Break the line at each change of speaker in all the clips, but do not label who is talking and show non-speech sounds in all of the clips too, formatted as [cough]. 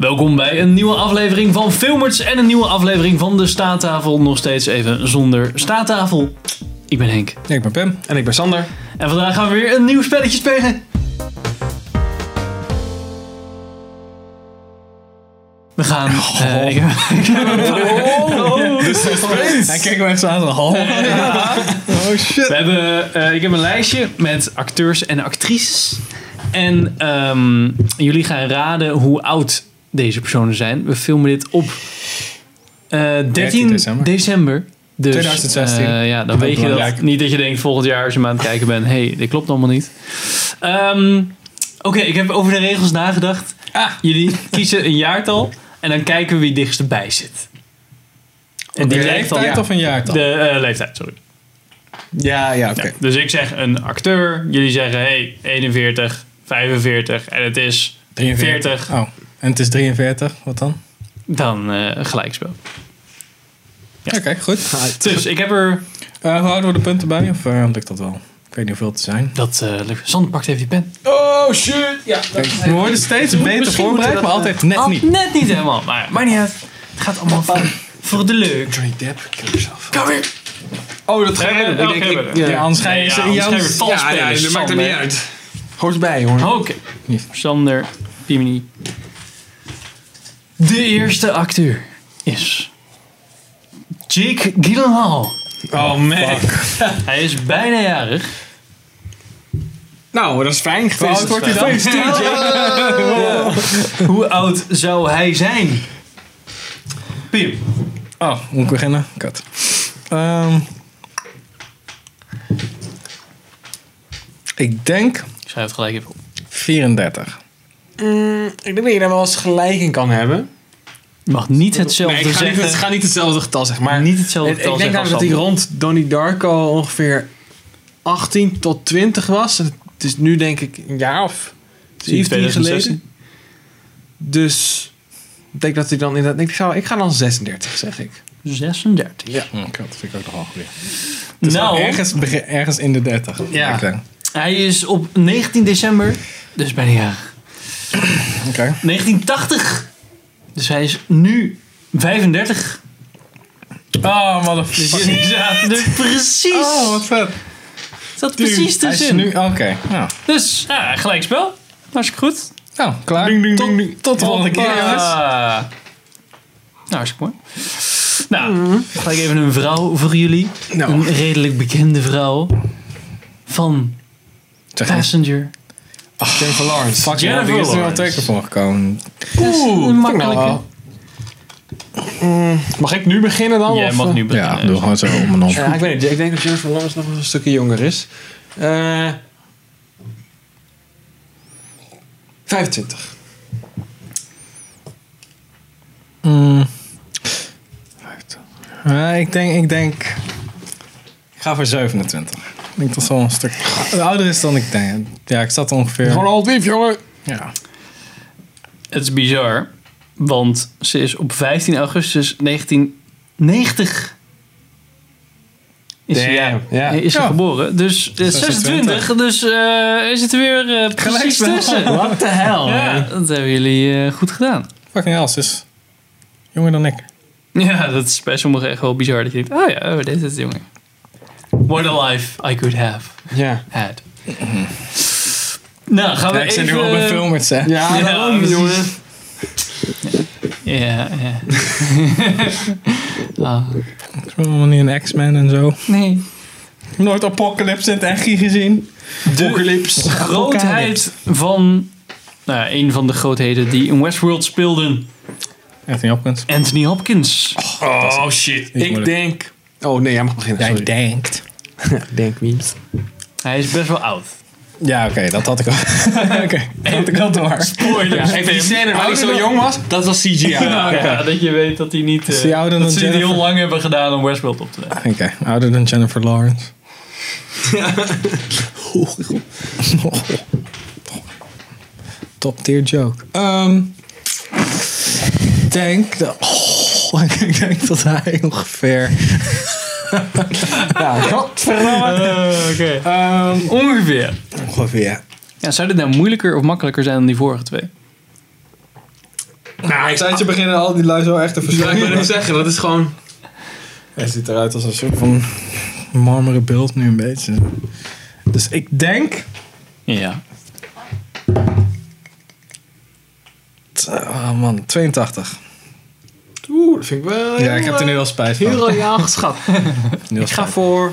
Welkom bij een nieuwe aflevering van Filmers en een nieuwe aflevering van de Staattafel. Nog steeds even zonder staattafel. Ik ben Henk.
Ja, ik ben Pim. En ik ben Sander.
En vandaag gaan we weer een nieuw spelletje spelen. We gaan. eh, [laughs] ik- Oh.
Hij kijkt me echt zo aan. zo, Oh, oh shit.
we hebben, eh, ik heb een lijstje met acteurs en actrices. En ehm, jullie gaan raden hoe oud deze personen zijn. We filmen dit op eh 13,
13
december.
december.
Dus,
2016.
eh, ja, dan weet je dat.
belangrijk.
Niet dat je denkt volgend jaar als je maar aan het kijken bent. hey, dit klopt allemaal niet. Ehm, Oké, ik heb over de regels nagedacht.
Ah.
Jullie kiezen een jaartal en dan kijken we wie het dichtst bij zit. En
De
lijkt dan-
leeftijd of een jaartal?
De eh, leeftijd, sorry.
Ja, ja, oké.
Dus ik zeg een acteur, jullie zeggen hey, 41, 45 en het is 40.
Oh, en het is 43. Wat dan?
Dan eh, een gelijkspel.
Oké, goed.
Dus ik heb er.
Eh, hoe houden we de punten bij? Of eh, lukt dat wel? Ik weet niet hoeveel te zijn.
Dat eh, lukt. Sander pakt even die pen.
Oh shit! Ja,
We worden steeds beter
Misschien
voorbereid, maar
moeten we eh,
altijd net
Oh,
niet.
Net niet helemaal, maar ja, Oh. maakt niet uit. Het gaat allemaal voor, voor de leuk.
Johnny Depp, kill yourself.
Kom weer.
Oh, dat ga
Eh,
je
oké,
doen. Ik denk,
maar-
ik,
Ja, anders ga
Nee,
je...
ja, anders
Ja,
ga je weer vals
ja, ja,
spelen,
dat maakt er
Sander.
niet uit. Hoort bij, hoor.
Oké.
Niet.
Sander Pimini. De eerste acteur is Jake Gyllenhaal.
Oh man.
Hij is bijna jarig.
[laughs] Nou, dat is fijn.
oud wordt hij dan?
Hoe oud zou hij zijn? Pim.
Oh, moet ik beginnen? Kut. Ehm, ik denk
Ik schrijf het gelijk even op.
34.
Mm, Ik denk dat je daar wel eens gelijk in kan hebben.
Je mag niet hetzelfde
Nee, ik ga niet,
zeggen.
het gaat niet hetzelfde getal zeggen, maar...
niet hetzelfde
ik,
getal
ik denk
zeggen als
namelijk dat hij
Sander.
rond Donnie Darko ongeveer 18 tot 20 was. En Het is nu denk ik een jaar of 17 geleden.
2016.
Dus ik denk dat hij dan inderdaad... Ik, zou, ik ga dan 36, zeg ik.
36.
Oh, kut, dat vind ik ook nog wel goed.
nou,
Dus Ergens, bege- ergens in de 30.
Ja.
Ik denk.
hij is op 19 december, dus bijna jarig.
Oké.
1980. Dus hij is nu 35.
Oh,
Dus jullie zaten er precies.
Oh, wat vet.
zat precies
Hij is
tussenin.
nu, oké. Nou,
Dus, ja, gelijkspel. Hartstikke goed.
nou, klaar.
Tot-
Tot, tot de volgende keer,
Hoppa.
jongens.
Nou, hartstikke mooi. Nou, gelijk even een vrouw voor jullie.
Nou.
Een redelijk bekende vrouw. Van
Zeg eens,
Passenger.
Jennifer Lawrence.
fuck ja,
Jennifer
die is er al
Lawrence.
twee keer voor gekomen.
Oeh, een makkelijke.
eh.
nou Mag ik nu beginnen dan?
Jij
of,
mag
eh?
nu
Ja,
beginnen.
doe gewoon zo om en om.
Ja, ik weet niet. Ik denk dat Jennifer Lawrence nog wel een stukje jonger is. Eh 25.
50. Eh, Hmm. ik denk, ik denk... Ik ga voor 27. Ik denk dat wel een stuk ouder is dan ik denk. Ja, ik zat
Gewoon
ongeveer...
al lief, jongen.
Ja.
Het is bizar, want ze is op 15 augustus 1990 is ze, ja,
Damn, ja.
is ze
Ja.
geboren. Dus eh, 26,
26.
dus eh, is het er weer eh, precies
Gelijkspel.
tussen. What the hell? Ja, dat hebben jullie eh, goed gedaan.
Fucking hell, ze is jonger dan ik.
Ja, dat is bij sommigen echt wel bizar dat je denkt, oh ja, oh, dit is jongen. What a life I could have
Ja.
had. Nou, gaan we
Ja, ik
even...
zit nu al bij filmers, hè.
Ja,
Ja,
daarom,
precies.
jongen.
Ja, ja. [laughs] Ah,
Ik ben allemaal niet een X-Men en zo.
nee.
Nooit Apocalypse in het Echi gezien.
Apocalypse.
grootheid van. Nou, ja, een van de grootheden die in Westworld speelden.
Anthony Hopkins.
Anthony Hopkins.
Oh, shit.
Niet
Ik
moeilijk.
denk... Oh, nee, jij mag beginnen.
Jij
sorry.
denkt.
denk niet.
Hij is best wel oud.
Ja, oké, dat had ik al. [laughs] oké, dat had ik al door.
Spoiler.
Ja, even die scène waar hij zo jong was, [laughs] dat was CGI.
Ja,
oké.
ja, dat je weet dat hij niet. eh,
hij ouder
dat
dan
ze die heel
Jennifer?
lang hebben gedaan om Westworld op te leggen.
Oké, ouder dan Jennifer
[laughs]
Lawrence. Top tier joke. Ehm, ik denk dat... Oh, [laughs] ik denk dat hij ongeveer... [laughs]
Ja, godverdomme.
ehm,
Ongeveer.
Eh.
ongeveer.
Ja, zou dit nou moeilijker of makkelijker zijn dan die vorige twee?
Nou, ik
Tijdje beginnen al die lui zo echt te
Ja, ik wil
verschijnen.
het zeggen, dat is gewoon...
Hij ziet eruit als een soort van marmeren beeld nu een beetje. Dus ik denk...
Ja.
Oh man, 82.
Oeh, dat vind ik wel
Ja, ik heb er nu
al...
al spijt van.
Heel royaal geschat.
Nu al
ik ga
spijt.
voor...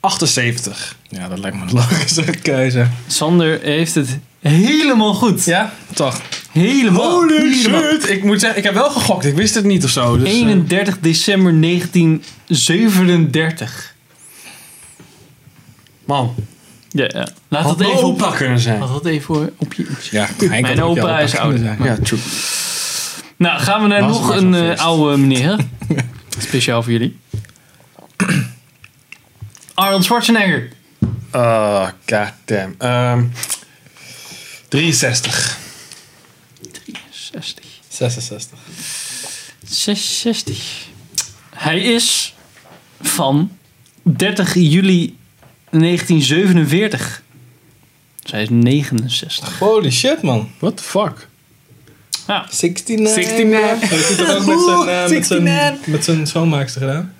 78. Ja, dat lijkt me een logische [laughs] keuze.
Sander heeft het helemaal goed.
Ja, toch.
Helemaal. helemaal.
Ik moet zeggen, ik heb wel gegokt. Ik wist het niet of zo. Dus, eh,
31 december 1937.
man,
Ja, ja. Laat
had
dat even op,
opa kunnen zijn.
laat dat even op je
Ja, hij
Mijn opa is ouder.
Ja, true.
Nou, gaan we naar
Was
nog
maar
een
zo'n
eh,
feest.
oude meneer. Speciaal voor jullie. [clears throat] Arnold Schwarzenegger.
Ah, god damn. Ehm, 63.
60.
66.
66. Hij is van 30 juli 1947. Zij is 69.
Holy shit, man.
What the fuck?
Ja,
69.
69.
Heeft hij dat ook met zijn, eh, met zijn,
69.
met zijn schoonmaakster gedaan?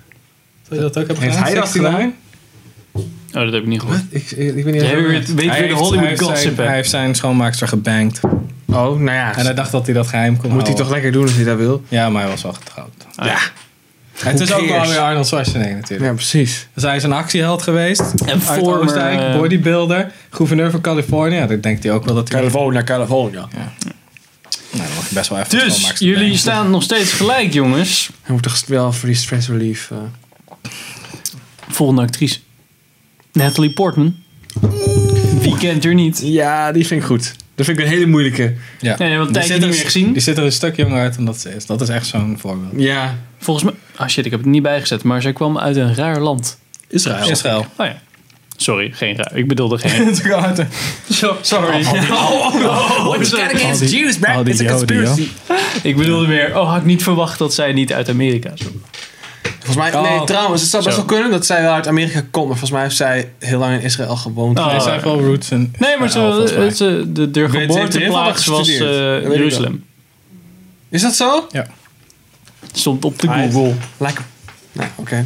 Zou je dat ook hebben
Heeft
gedaan?
hij dat
69?
gedaan?
oh, dat heb ik niet gehoord.
Ik, ik weet niet
Jij
of-
weet, weet weer
Hij
de
heeft- hij
Hollywood
heeft
gossip.
zijn- Hij
hè?
heeft zijn schoonmaakster gebankt.
Oh, nou ja. Oh.
En hij dacht dat hij dat geheim kon
moet hij toch
houden.
lekker doen als hij dat wil?
Ja, maar hij was wel getrouwd.
Ah, ja.
Het is ook wel
cares?
weer Arnold Schwarzenegger natuurlijk.
Ja, precies.
Dus hij is een actieheld geweest.
En
Uit
former,
Oostenrijk,
eh,
bodybuilder, gouverneur van Californië. Ja, dat denkt hij ook wel dat hij...
California, California.
Nou, dan mag je best wel even de
Dus,
schoonmaakster
jullie
banken.
staan nog steeds gelijk, jongens.
Hij moet toch wel voor die stress relief... eh.
Volgende actrice. Natalie Portman. Wie kent er niet?
Ja, die vind ik goed. Dat vind ik een hele moeilijke.
Ja.
Nee, we hebben een
Die
tijdje
zit
niet
er-
meer gezien.
Die zit er een stuk jonger uit dan dat ze is. Dat is echt zo'n voorbeeld.
Ja.
Volgens mij... Ah shit, ik heb het niet bijgezet. Maar zij kwam uit een raar land.
Israël. Israël.
Oh ja. Sorry, geen raar. Ik bedoelde geen... Zo, sorry.
Jews,
man. Al die It's a Joden, conspiracy.
Ik bedoelde meer... Oh, had ik niet verwacht dat zij niet uit Amerika is.
Volgens mij, nee,
Oh.
trouwens, het zou best
Zo.
wel kunnen dat zij wel uit Amerika komt. Maar volgens mij heeft zij heel lang in Israël gewoond.
Oh.
Hij zijn wel roots in
Nee, maar ze,
Israël, volgens mij.
het, ze, de, de
heeft
geboorteplaats
heel veel
was eh,
gestudeerd. Dat weet ik
Jeruzalem.
Is dat zo?
Stond op de
Hij is-
Google.
Lekker. Nou, oké.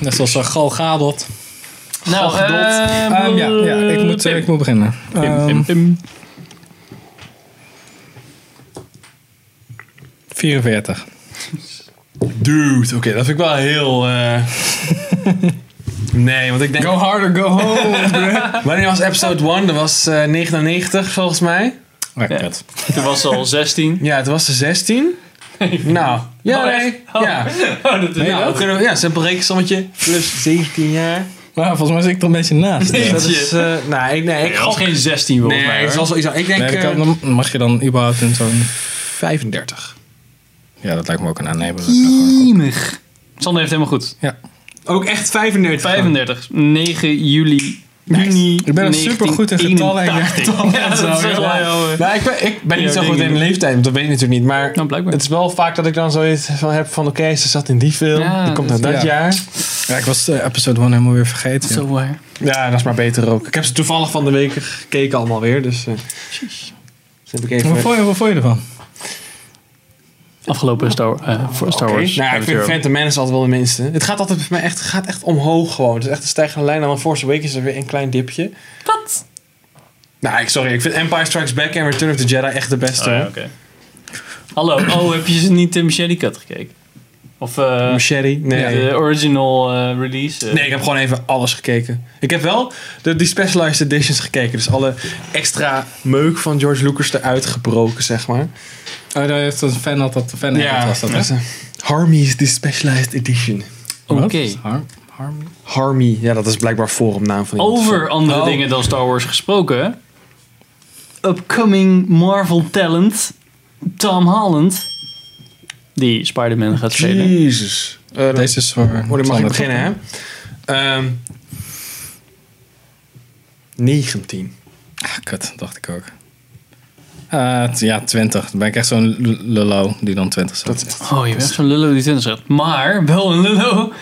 Net zoals eh, Gal Gadot.
Nou,
Gadot.
eh,
Ehm, ja, ja ik, moet, eh,
Pim.
ik moet beginnen.
Pim,
Ehm,
Pim, Pim.
44.
Dude, oké, dat vind ik wel heel... [laughs] eh, nee, want ik denk...
harder,
[laughs]
go home.
Wanneer was episode 1? Dat was eh, 99 volgens mij.
Ja.
kut.
Toen was
[laughs]
ze al 16.
Ja, het was de 16.
[laughs]
Nou, ja,
Oh, echt?
nee.
Oh.
Ja,
Oh, dat is
nou, dan kunnen we, ja, simpel rekensommetje. Plus 17 jaar.
Maar volgens mij zit ik er een beetje naast. dus-
Nee.
Ja.
Dat is... eh nee, nee, ik
Ik had
gok-
geen 16 volgens
Nee,
mij.
het
hoor.
was wel iets. Ik denk
Nee, dan
eh,
kan- dan mag je dan überhaupt in zo'n...
35.
Ja, dat lijkt me ook een aannemer.
Kiemig. Sander heeft helemaal goed.
Ook echt 35. [laughs]
35, 9 juli. Juni
Ik ben er supergoed in getallen en
1981. [laughs] Ja, dat is echt wel heel, eh,
Nou, ik ben, ik ben
Ja,
niet zo
dingen
goed in de
doen.
leeftijd, want dat weet ik natuurlijk niet. Maar
Nou, blijkbaar.
het is wel vaak dat ik dan zoiets van heb van... Oké, ze zat in die film,
Ja,
die komt uit
dat-
dat
ja.
jaar.
Ja, ik was eh, episode 1 helemaal weer vergeten.
Zo waar.
Ja, dat is maar beter ook. Ik heb ze toevallig van de week gekeken allemaal weer, dus... eh dus heb ik even...
Wat vond je, wat vond je ervan?
Afgelopen Star, eh, voor Star
Oké.
Wars.
Nou, ja, ik vind
Episode.
Phantom Menace altijd wel de minste. Het gaat altijd bij mij echt, gaat echt omhoog gewoon. Het is echt een stijgende lijn. En dan Force Awakens is er weer een klein dipje.
Wat?
Nou, ik, sorry. Ik vind Empire Strikes Back en Return of the Jedi echt de beste.
Oh, ja,
hoor.
oké. Hallo, oh, heb je ze niet de Machete Cut gekeken? Of eh,
Machete? Nee.
de original eh, release? eh?
Nee, ik heb gewoon even alles gekeken. Ik heb wel de, die specialized editions gekeken. Dus alle extra meuk van George Lucas eruit gebroken, zeg maar.
Oh, daar heeft een fan had dat de fan had, was dat. hè?
is een- Harmy is die specialized edition.
Oké.
Wat? Harm, harm.
Harmy, ja, dat is blijkbaar forumnaam van iemand.
Over andere
Oh.
dingen dan Star Wars gesproken. Upcoming Marvel talent Tom Holland. Die Spider-Man gaat spelen.
Jezus. Eh, dan-
Deze is voor.
Oh, dan mag ik
Sander,
beginnen, hè?
toch?
Ehm 19.
Ah, kut, dacht ik ook. Eh, t- ja, 20. Dan ben ik echt zo'n l- lullo die dan 20 zat.
Dat-
Oh, je bent zo'n lullo die 20 zegt. Maar wel een lullo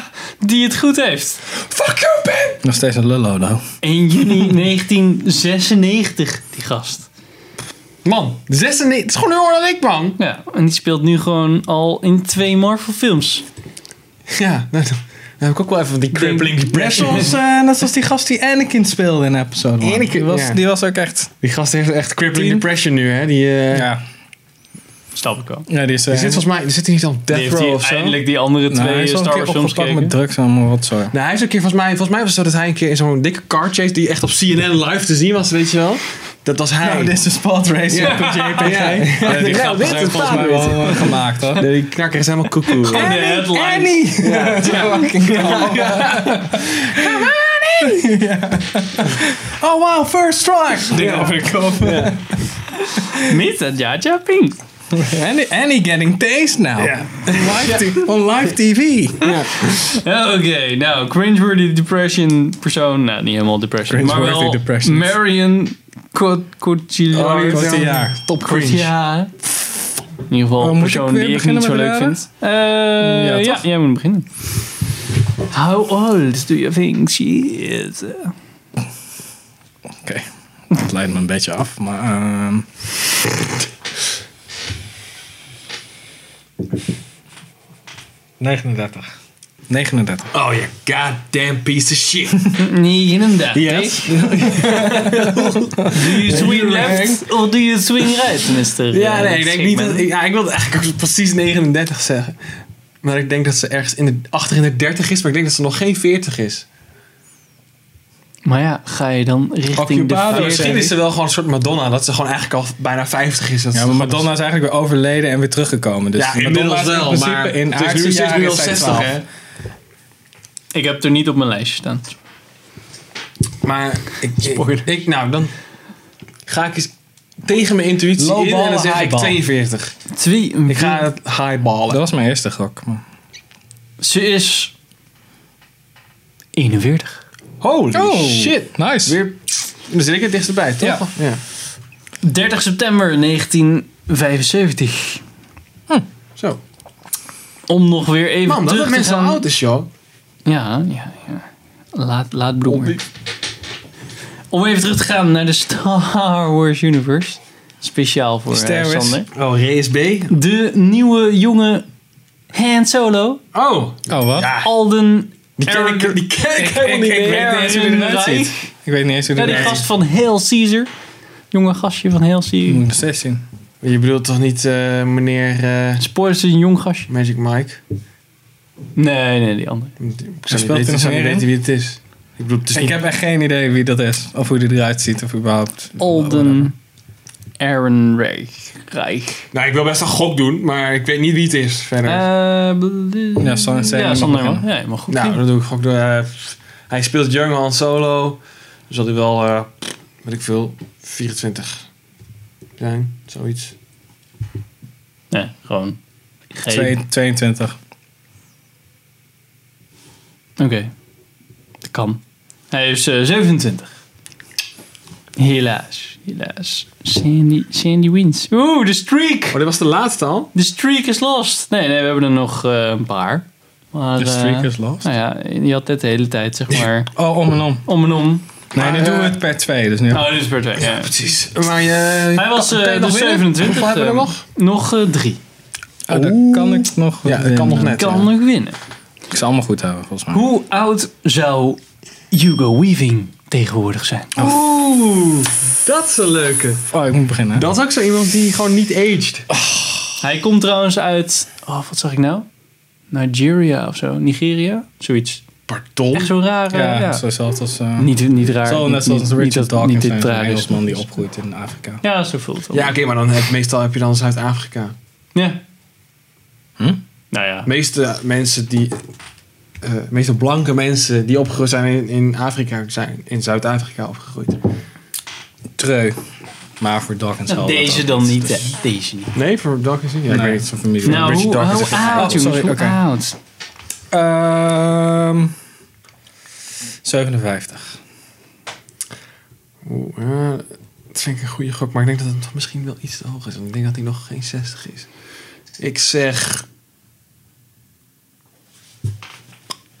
[laughs] die het goed heeft.
Fuck you, Ben!
Nog
[laughs]
steeds een lullo, nou.
1 juni 1996, die gast.
Man, 96. Het is gewoon jonger dan ik, man.
Ja, en die speelt nu gewoon al in twee Marvel films.
[laughs] Ja, nou, dan dan heb ik ook wel even die crippling
Net
depression.
[laughs] zoals, eh, net zoals die gast die Anakin speelde in episode 1.
Anakin,
die, was,
ja.
die was ook echt...
[laughs] Die gast heeft echt crippling
Tien?
depression nu, hè? Die, eh,
Ja,
Snap ik wel.
ja die is...
die
eh,
zit volgens mij zit hij niet aan
Die
death
heeft
row
die-
of zo.
eindelijk die andere
nou,
twee
hij is wel een
Star
keer
Wars films
opgepakt
gekeken.
[laughs] met drugs en allemaal wat zo.
Nou, hij is een keer volgens mij, volgens mij was dat dat hij een keer in zo'n dikke car chase die echt op CNN live te zien was, weet je wel? Dat was hij.
Nou, dit is een spatrace
Ja.
op een JPG.
Ja. Ja, die grappen zijn volgens mij wel, eh,
gemaakt, hoor.
Nee, die knakker is helemaal koekoe.
Gewoon de headlines.
Annie! Ja, fucking hell. Oh wow, first strike!
Dingen overkomen. Niet dat Jaja Pink.
Annie, Annie getting tased now.
Ja.
On, live t- on live TV.
Oké, nou, cringeworthy depression persoon. Nou, niet helemaal depression. Maar
Cringeworthy
wel
depression.
Marion Cot-
Oh,
Cotillard.
dit is
Korte
wel
jaar.
Top cringe.
Ja. In ieder geval
Oh,
een
moet
persoon
ik weer
die ik niet
beginnen
zo
met
leuk
raden?
vind. Eh,
Ja,
ja,
toch?
jij moet beginnen. How old do you think she is?
Oké, dat leidt me een beetje af, maar... ehm, ...39. 39.
Oh ja, goddamn piece of shit.
Nee, inderdaad.
Yes.
Do you swing left or do you swing right, mister?
Ja,
eh,
nee, ik denk niet dat,
Schikman?
ik, ja, ik wilde eigenlijk ook precies 39 zeggen. Maar ik denk dat ze ergens in de, achter in de 30 is, maar ik denk dat ze nog geen 40 is.
Maar ja, ga je dan richting de
Occupado,
Maar
40?
misschien is ze wel gewoon een soort Madonna, dat ze gewoon eigenlijk al bijna 50 is. Dat ze
Ja, maar
gewoon-
Madonna is eigenlijk weer overleden en weer teruggekomen. Dus
Ja,
Madonna
inmiddels
is in
wel,
principe
maar
in
het is nu-
aardse
ze is nu,
jaren
al
zijn
60,
twaalf.
hè?
Ik heb het er niet op mijn lijstje staan.
Maar ik, ik, ik- nou, dan ga ik eens tegen mijn intuïtie
Low
in en
ballen,
dan zeg
high
ik
ball. Hmm.
42.
Twee.
Ik ga het highballen.
Dat was mijn eerste gok. maar-
Ze is 41.
Holy shit.
Oh, nice.
Weer, dan zit ik het dichterbij, toch?
Ja.
30 september 1975.
Zo.
Om nog weer even
Man, dat
terug
het
te
mensen
gaan.
oud is, joh.
Ja, ja, ja. Laat, laat bloemen. Om even terug te gaan naar de Star Wars Universe. Speciaal voor
Star
eh,
Wars.
Sander.
Oh, RSB.
De nieuwe jonge Han Solo.
Oh.
Oh, wat?
Ja.
Alden
Die ken
Aaron-
ik, die ken ik
Ik-
helemaal
ik-
niet
ik weet
meer.
niet eens hoe die eruit
Reich.
ziet. Ik weet niet eens hoe
Ja,
die
die
eruit
gast van Hail Caesar. Jonge gastje van Hail
ziet. Ik moet
Caesar.
nog steeds zien.
Je bedoelt toch niet eh, meneer eh,
Spoilers is een jong gastje.
Magic Mike?
Nee, nee, die andere.
Ik
speelt
zou niet weten,
er
ik zou
nog
niet
meer in?
weten wie het is. Ik bedoel, het is
Ik
niet-
heb echt geen idee wie dat is. Of hoe die eruit ziet, of überhaupt.
Alden Aaron Reich. Reich.
Nou, ik wil best een gok doen, maar ik weet niet wie het is verder.
Eh, bl-
Ja, Sander Sander
Ja,
mag
Sander
beginnen.
man. Ja, je mag goed.
nou,
beginnen.
dat doe ik gok door. eh, pff. hij speelt Young Han Solo. Dus zal hij wel, eh, pff, weet ik veel, 24 zijn, zoiets.
Nee, gewoon. Geen.
Twee- 22.
Oké. Dat kan. Hij is eh, 27. Helaas, helaas. Sandy, Sandy wins. Oeh, de streak!
Oh, dit was de laatste al?
De streak is lost. Nee, nee, we hebben er nog eh, een paar. Maar,
De streak
eh,
is lost.
Nou ja, je had dit de hele tijd, zeg maar. [laughs]
Oh, om en om.
Om en om.
Nee,
Maar,
nu doen we
eh,
het per twee. Dus nu.
Oh, dit is per twee. Ja.
Precies. Maar je...
Hij was
kan je
eh
nog
dus
winnen?
27.
Hoeveel hebben we er
eh,
nog?
Nog eh, drie.
Oh, dat kan ik nog.
Ja, dat kan nog net.
Kan nog winnen.
Ik zal allemaal goed houden, volgens mij.
Hoe oud zou Hugo Weaving tegenwoordig zijn?
Oeh, dat is een leuke.
Oh, ik moet beginnen.
Dat is ook zo iemand die gewoon niet aged.
Hij komt trouwens uit... Oh, wat zag ik nou? Nigeria of zo. Nigeria? Zoiets.
Pardon?
Echt zo raar.
ja,
Ja,
het is hetzelfde als. eh,
Niet, niet raar.
Zo,
niet-
net zoals
niet- niet
Richard
dat-
Dawkins,
Niet
zijn,
dit
zo'n
tragisch.
Engelsman die opgroeit in Afrika.
Ja, zo voelt het.
Ja, oké, maar dan heb, meestal heb je dan Zuid-Afrika.
Ja.
Hm?
Nou ja.
De meeste mensen die... eh, de meeste blanke mensen die opgegroeid zijn in, in Afrika zijn in Zuid-Afrika opgegroeid.
Treu. Maar voor Dawkins
Nou,
geldt dat
deze
ook
dan
niet,
niet,
dus-
hè. Deze niet.
Nee, voor Dawkins niet. Ja,
Nee,
ik weet
het
niet.
is een familie.
Nou,
Richard
hoe,
Dawkins
hoe
heeft het
oud,
gedaan.
jongens?
Oh, Sorry,
Hoe oud?
oké. Ehm, 57.
Oeh, eh, dat vind ik een goede gok, maar ik denk dat het toch misschien wel iets te hoog is. Want ik denk dat hij nog geen 60 is. Ik zeg... 50.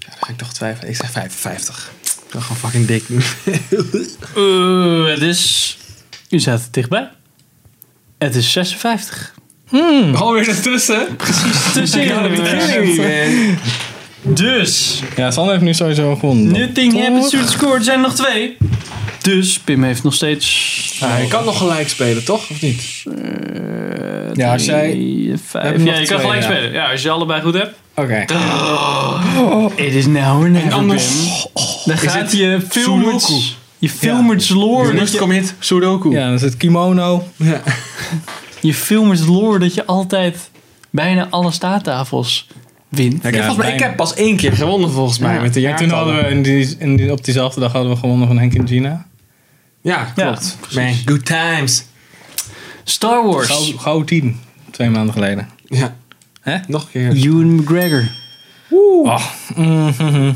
Ja, dan ga ik toch twijfelen. Ik zeg 55. Ik ben gewoon fucking dik nu.
Eh, het is U zaten dichtbij. Het is 56.
Hm.
[laughs] Alweer ertussen.
Tussen jullie. Dus,
Ja, Sander heeft nu sowieso gewonnen.
Nutting hebben het scoort zijn er nog twee. Dus Pim heeft nog steeds.
Hij kan nog gelijk spelen, toch? Of niet?
Ja, als jij-
eh, Drie,
hebben
Vijf.
nog
Ja, je kan
twee,
gelijk
ja.
spelen. Ja, als je allebei goed hebt.
Oké.
It is now or never,
anders-
Pim. Dan gaat
het
je
Sudoku?
filmerts... Je filmerts
Voor
lore... dat
rust
je-
commit, Sudoku.
Ja, dan is het kimono.
Ja.
Je filmerts lore dat je altijd bijna alle staattafels wint.
Ik, heb
Ja,
volgens mij, ik
bijna.
heb pas één keer gewonnen, volgens mij.
Ja.
Met de
Ja, toen
jaartallen.
hadden we in die, in die- op diezelfde dag hadden we gewonnen van Henk en Gina.
Ja,
Ja,
klopt.
precies.
Man, good times.
Star
Gauw,
Wars.
gauw tien, twee maanden geleden.
Ja.
Hè?
Nog een keer.
Ewan McGregor. Ah.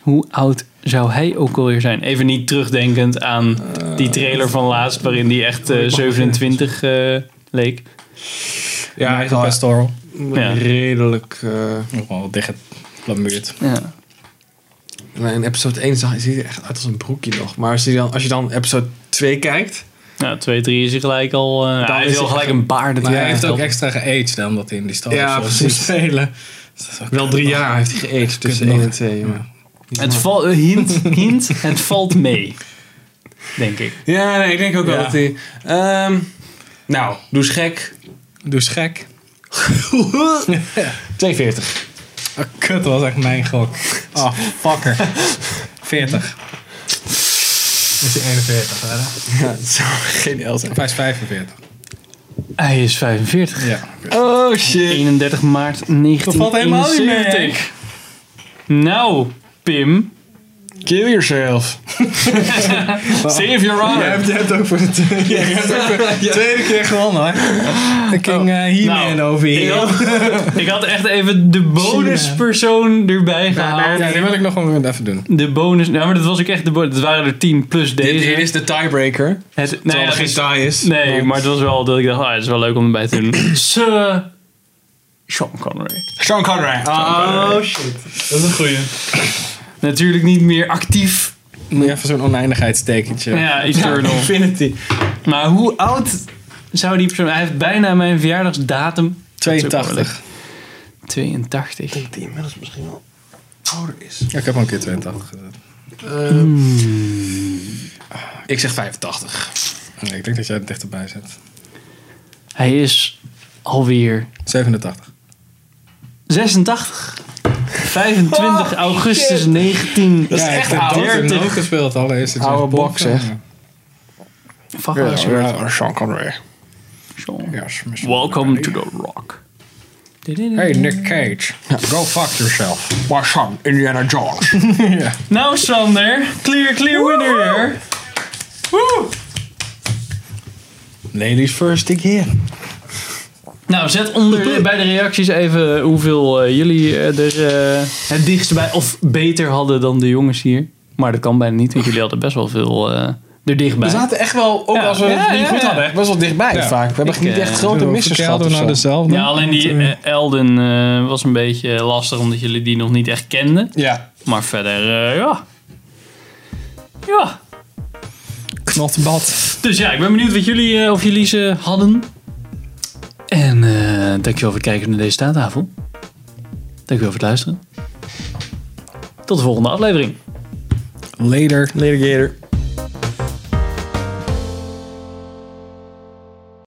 Hoe oud zou hij ook alweer zijn? Even niet terugdenkend aan die trailer van laatst... waarin hij echt eh, 27 eh, leek.
Ja, hij is al best
pastoral.
Ja.
redelijk... eh,
Nog wel dicht geplombeerd.
Ja.
Nou, in episode 1 zag, ziet hij er echt uit als een broekje nog. Maar als je dan, als je dan episode 2 kijkt...
Nou, 2, 3 is hij gelijk al... eh hij
is
heeft al
hij-
gelijk een baard.
Maar
natuurlijk.
hij heeft ook
Ja.
extra geaged dan omdat hij in die stad
Ja,
zo
precies.
moest spelen. Dus dat is ook-
Wel drie jaar heeft hij geëet tussen
nog.
1 en 2. jongen.
Het valt... eh, hint, hint, het valt mee. Denk ik.
Ja, nee, ik denk ook wel
Ja.
dat hij... Ehm, nou, doe eens gek.
Dus
[laughs]
gek.
42.
Ah, kut, dat was echt mijn gok. Oh, fucker. 40. Is hij 41, hè?
Ja, dat zou geniaal zijn.
Of hij is 45.
Hij is 45.
Ja.
Oh shit.
31 maart
valt helemaal niet mee,
1971. Nou, Pim.
Kill
[laughs]
yourself.
Save your honor.
Jij hebt, jij hebt ook voor
[laughs]
de tweede, jij hebt ook voor de tweede keer gewonnen, hoor. Dan ging eh
Nou,
He-Man over
Ik
hier.
had, ik had echt even de bonuspersoon erbij gehaald.
Ja, die wil ik nog wel even doen.
De bonus... Nou, maar dat was ook echt de bonus. Dat waren er 10 plus
Dit,
deze.
dit is de tiebreaker.
Het, nee,
terwijl er
dat
geen
is-
tie is.
nee, maar het was wel dat ik dacht, ah, het is wel leuk om erbij te doen. Sir Sean Connery.
Sean Connery. Oh shit. Dat is een goeie.
Natuurlijk niet meer actief.
Moet je even zo'n oneindigheidstekentje.
Ja, [laughs] Eternal.
Infinity.
Maar hoe oud zou die persoon... Hij heeft bijna mijn verjaardagsdatum. Dat is ook wel
82.
leuk. 82.
Ik denk die inmiddels misschien wel ouder is.
Ja, ik heb al een keer 82 gezet.
Hmm. Ik zeg 85.
Nee, ik denk dat jij het dichterbij zet.
Hij is alweer
87.
86. 25 augustus 19.
is echt
ik heb
oud.
Dirk ook gespeeld. Allereerst het
Oude bok, zeg.
Fuck us, hoor.
Sean Connery.
Sean.
Yes, Mr.
Welcome to the rock.
Hey, Nick Cage. Go fuck yourself.
My son, Indiana Jones.
Nou Sander, clear, clear winner here.
[laughs] Ladies first, ik hier.
Nou, zet onder de- bij de reacties even hoeveel eh, jullie eh, er eh, het dichtst bij of beter hadden dan de jongens hier. Maar dat kan bijna niet, want jullie hadden best wel veel eh, er
We
dichtbij.
zaten echt wel, ook
Ja.
als we het
Ja,
niet
ja,
goed
ja.
hadden, echt best wel dichtbij
Ja.
vaak. We hebben
Ik,
niet
eh,
echt grote misses gehad
we
of
nou
zo.
dezelfde?
Ja, alleen die eh, Elden eh, was een beetje lastig omdat jullie die nog niet echt kenden.
Ja.
Maar verder, eh, ja. Ja.
Knotbad.
Dus ja, ik ben benieuwd wat jullie, eh, of jullie ze hadden. En eh, dankjewel voor het kijken naar deze staattafel. Dankjewel voor het luisteren. Tot de volgende aflevering.
Later.
Litigator.